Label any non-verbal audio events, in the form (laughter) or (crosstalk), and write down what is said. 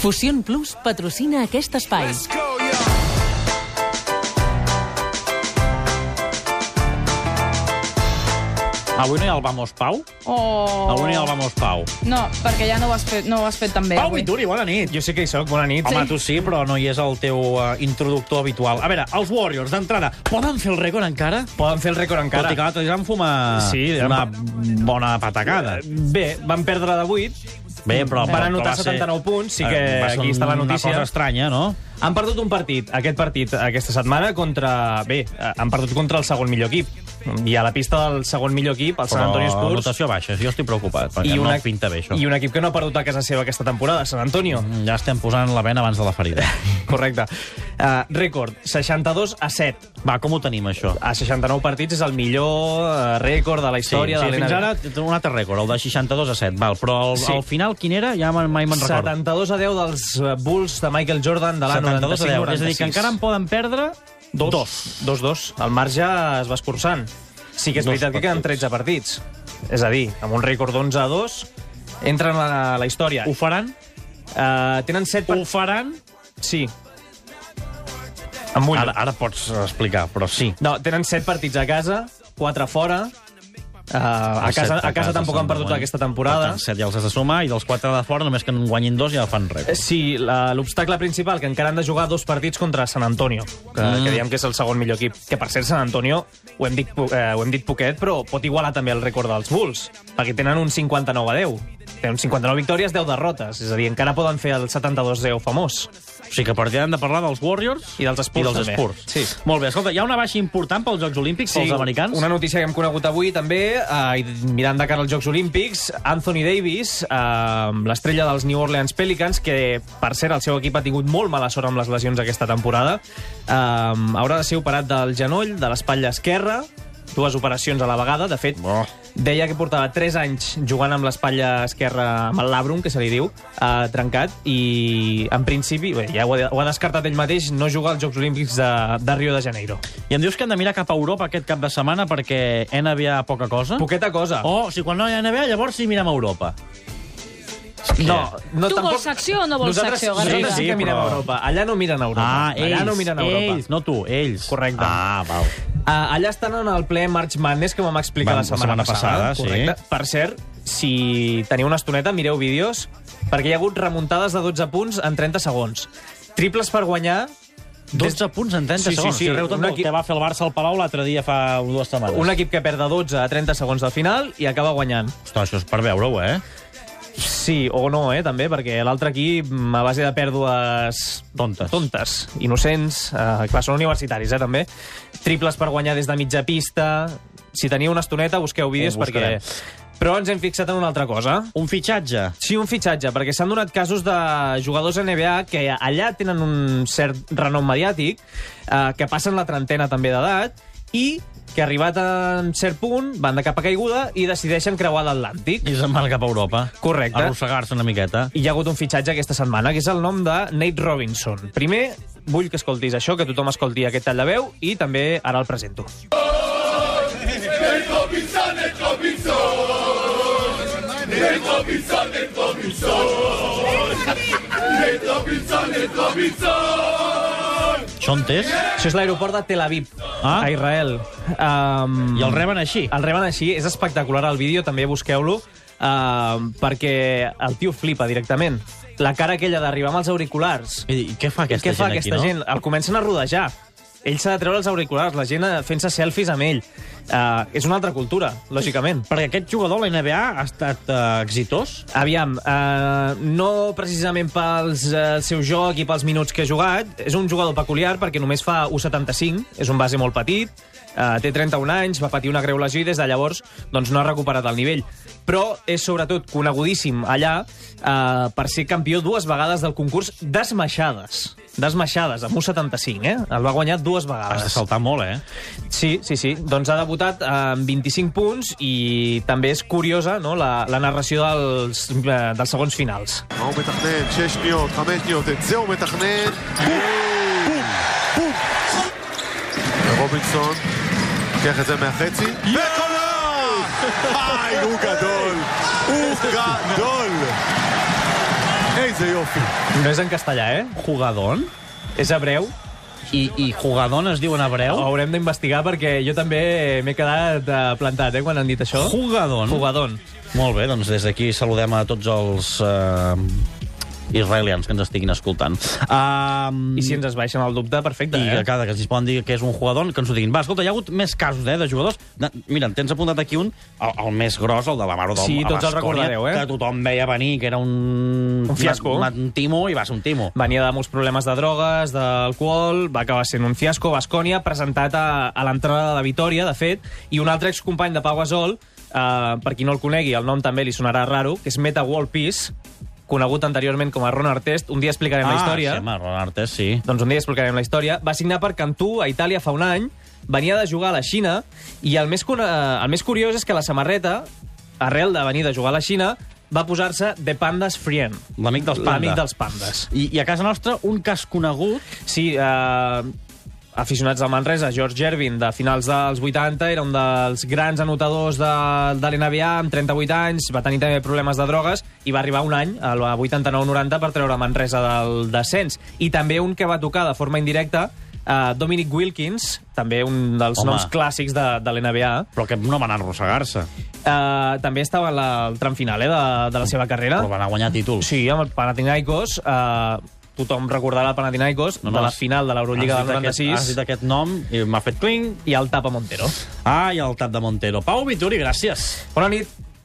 Fusion Plus patrocina aquest espai. Avui no hi ha el Vamos Pau? Oh. Avui no hi ha Ah, el Vamos Pau. No, perquè ja no ho has fet, no ho has fet tan bé. Pau avui. Vituri, bona nit. Jo sé que hi soc, bona nit. Home, tu sí, però no hi és el teu uh, introductor habitual. A veure, els Warriors, d'entrada, poden fer el rècord encara? Poden fer el rècord encara. Tot i que l'altre dia van fumar Sí, una van- bona patacada. Bé, van perdre de 8. Bé, però... Van anotar va ser- 79 punts, sí que Eh, va ser aquí està la notícia. Una cosa estranya, no? Han perdut un partit, aquest partit, aquesta setmana, contra... Bé, eh, han perdut contra el segon millor equip. I a la pista del segon millor equip, el Sant Antonio Però Spurs... rotació baixa, jo estic preocupat, perquè I, no una, pinta bé, això. Mm. I un equip que no ha perdut a casa seva aquesta temporada, Sant Antonio. Ja estem posant la vena abans de la (laughs) ferida. Correcte. Uh, rècord, 62 a 7. Va, com ho tenim, això? A 69 partits és el millor eh, rècord de la sí, història de sí, l'NBA. fins ara té un altre rècord, el de 62 a 7, val, però al, Sí. sí. al final quin era? Ja me- mai me'n recordo. 72 a 10 dels eh, Bulls de Michael Jordan de l'any 72 a 10, és 95-96. a dir, que encara en poden perdre dos. Dos. Dos, dos. El marge es va escurçant. Sí que és Dos veritat que queden partits. 13 partits. És a dir, amb un rècord d'11 a 2, entren a la, la història. Ho faran? Uh, tenen 7 Ho partits. faran? Sí. Amb un Ara, ara pots explicar, però sí. No, tenen 7 partits a casa, 4 fora... Uh, a, casa, a casa tampoc han perdut aquesta Per temporada. eh? Ah, tant, set ja els has de sumar, i dels quatre de fora, només que en guanyin dos ja fan rècord. Sí, la- l'obstacle principal, que encara han de jugar dos partits contra San Antonio, que, mm. que diem que és el segon millor equip. Que, per cert, San Antonio, ho hem, dit, po- eh, ho hem dit poquet, però pot igualar també el rècord dels Bulls, perquè tenen un 59 a 10. Tenen 59 victòries, 10 derrotes. És a dir, encara poden fer el 72-10 famós. O sigui que partirem de parlar dels Warriors I dels Spurs, i dels també. Spurs. Sí. Molt bé, escolta, hi ha una baixa important pels Jocs Olímpics, pels americans? Una notícia que hem conegut avui, també, eh, i mirant de cara als Jocs Olímpics, Anthony Davis, eh, l'estrella dels New Orleans Pelicans, que, per cert, el seu equip ha tingut molt mala sort amb les lesions aquesta temporada, eh, haurà de ser operat del genoll, de l'espatlla esquerra, dues operacions a la vegada, de fet... Oh. Deia que portava 3 anys jugant amb l'espatlla esquerra, amb el labrum, que se li diu, eh, trencat, i en principi, bé, ja ho ha, ho ha descartat ell mateix, no jugar als Jocs Olímpics de, de Rio de Janeiro. I em dius que hem de mirar cap a Europa aquest cap de setmana perquè NBA poca cosa? Poqueta cosa. O, Oh, si quan no hi ha NBA, llavors sí mirem a Europa. No, no Tu tampoc... vols secció o no vols Nosaltres, secció, Garriga? Nosaltres sí, que Sí, mirem però- a Europa. Allà no miren a Europa. Ah, allà ells, no miren a Europa. ells, no tu, ells. Correcte. Ah, val. Ah, allà estan en el ple March Madness que vam explicar Vam- la setmana, la setmana passada, sí. correcte. Per cert, si teniu una estoneta, mireu vídeos, perquè hi ha hagut remuntades de 12 punts en 30 segons. Triples per guanyar... 12 punts en 30 Sí, sí, segons. sí. Si Reu Un també equip- que va fer el Barça al Palau l'altre dia fa dues setmanes. Un equip que perd de 12 a 30 segons de final i acaba guanyant. Ostres, això és per veure-ho, eh? Sí, o no, eh, també, perquè l'altre aquí, mm, a base de pèrdues Tontes. tontes, innocents, eh, clar, són universitaris, eh, també. Triples per guanyar des de mitja pista... Si teniu una estoneta, busqueu vídeos Ho perquè... buscarem. Però ens hem fixat en una altra cosa. Un fitxatge. Sí, un fitxatge, perquè s'han donat casos de jugadors NBA que allà tenen un cert renom mediàtic, eh, que passen la trentena també d'edat, i que arribat a un cert punt van de capa caiguda i decideixen creuar l'Atlàntic. I se'n van cap a Europa. Correcte. Arrossegar-se una miqueta. I hi ha hagut un fitxatge aquesta setmana, que és el nom de Nate Robinson. Primer, vull que escoltis això, que tothom escolti aquest tall de veu, i també ara el presento. Xontes. Això és l'aeroport de Tel Aviv, Ah. a Israel. Um, I el reben així. el reben així, és espectacular el vídeo, també busqueu-lo, um, perquè el tio flipa directament. La cara aquella d'arribar amb els auriculars. I, i què fa aquesta Què fa gent aquesta aquí, gent? El comencen a rodejar. Ell s'ha de treure els auriculars, la gent eh, fent-se selfies amb ell. Uh, és una altra cultura, lògicament. no? Perquè aquest jugador, la NBA, ha estat eh, exitós. Aviam, eh, no precisament pels eh, seu joc i pels minuts que ha jugat. És un jugador peculiar perquè només fa 1,75, és un base molt petit, eh, té 31 anys, va patir una greu lesió i des de llavors doncs, no ha recuperat el nivell. Però és sobretot conegudíssim allà eh, per ser campió dues vegades del concurs d'esmaixades. D'esmaixades, amb 1,75, eh? El va guanyar dues Has de vegades. saltar molt, eh? Sí, sí, sí. Doncs ha debutat eh, amb 25 punts i també és curiosa no, la, la narració dels, eh, dels segons finals. מה הוא מתכנן? שש שניות, חמש שניות, את זה הוא מתכנן. ורובינסון לוקח את זה מהחצי. וקולר! היי, הוא גדול! הוא גדול! איזה יופי. No és en castellà, eh? Jugadon? És hebreu. I, i jugadon es diu en Ho hebreu? haurem d'investigar perquè jo també m'he quedat eh, plantat, eh, quan han dit això. Jugadon? Jugadon. Molt bé, doncs des d'aquí saludem a tots els eh, israelians que ens estiguin escoltant. Um, I si ens es baixen el dubte, perfecte, I que eh? cada que ens poden dir que és un jugador, que ens ho diguin. Va, escolta, hi ha hagut més casos eh, de jugadors. Na- Mira, en tens apuntat aquí un, el, el més gros, el de la Maro del Sí, a tots el Bascònia, recordareu, eh? Que tothom veia venir, que era un... Un fiasco. Un, un timo, i va ser un timo. Venia de molts problemes de drogues, d'alcohol, va acabar sent un fiasco. Bascònia, presentat a, a l'entrada de la Vitoria, de fet, i un altre excompany de Pau Gasol, eh, per qui no el conegui, el nom també li sonarà raro, que és Meta World Peace, conegut anteriorment com a Ron Artest. Un dia explicarem la història. Ah, sí, home, Ron Artes, sí. Doncs un dia explicarem la història. Va signar per Cantú a Itàlia fa un any, venia de jugar a la Xina, i el més, cona- el més curiós és que la samarreta, arrel de venir de jugar a la Xina, va posar-se The Pandas Friend. L'amic dels pandes. L'amic dels pandes. I, I a casa nostra, un cas conegut... Sí, eh, aficionats del Manresa, George Gervin, de finals dels 80, era un dels grans anotadors de, de l'NBA, amb 38 anys, va tenir també problemes de drogues, i va arribar un any, el 89-90, per treure Manresa del descens. I també un que va tocar de forma indirecta, eh, Dominic Wilkins, també un dels Home. Home. noms clàssics de, de l'NBA. Però que no va anar a arrossegar-se, Eh, també estava en la, el tram final eh, de, de la seva carrera. però va anar a guanyar títols. Sí, amb el Panathinaikos. Eh, tothom recordarà el Panathinaikos No, no, no, no, de la has- final de l'Eurolliga Has del dit aquest- 96 Has dit aquest nom i m'ha fet cling. i el tapa Montero. Ah, i el tap de Montero. Pau Vituri, gràcies. Bona nit.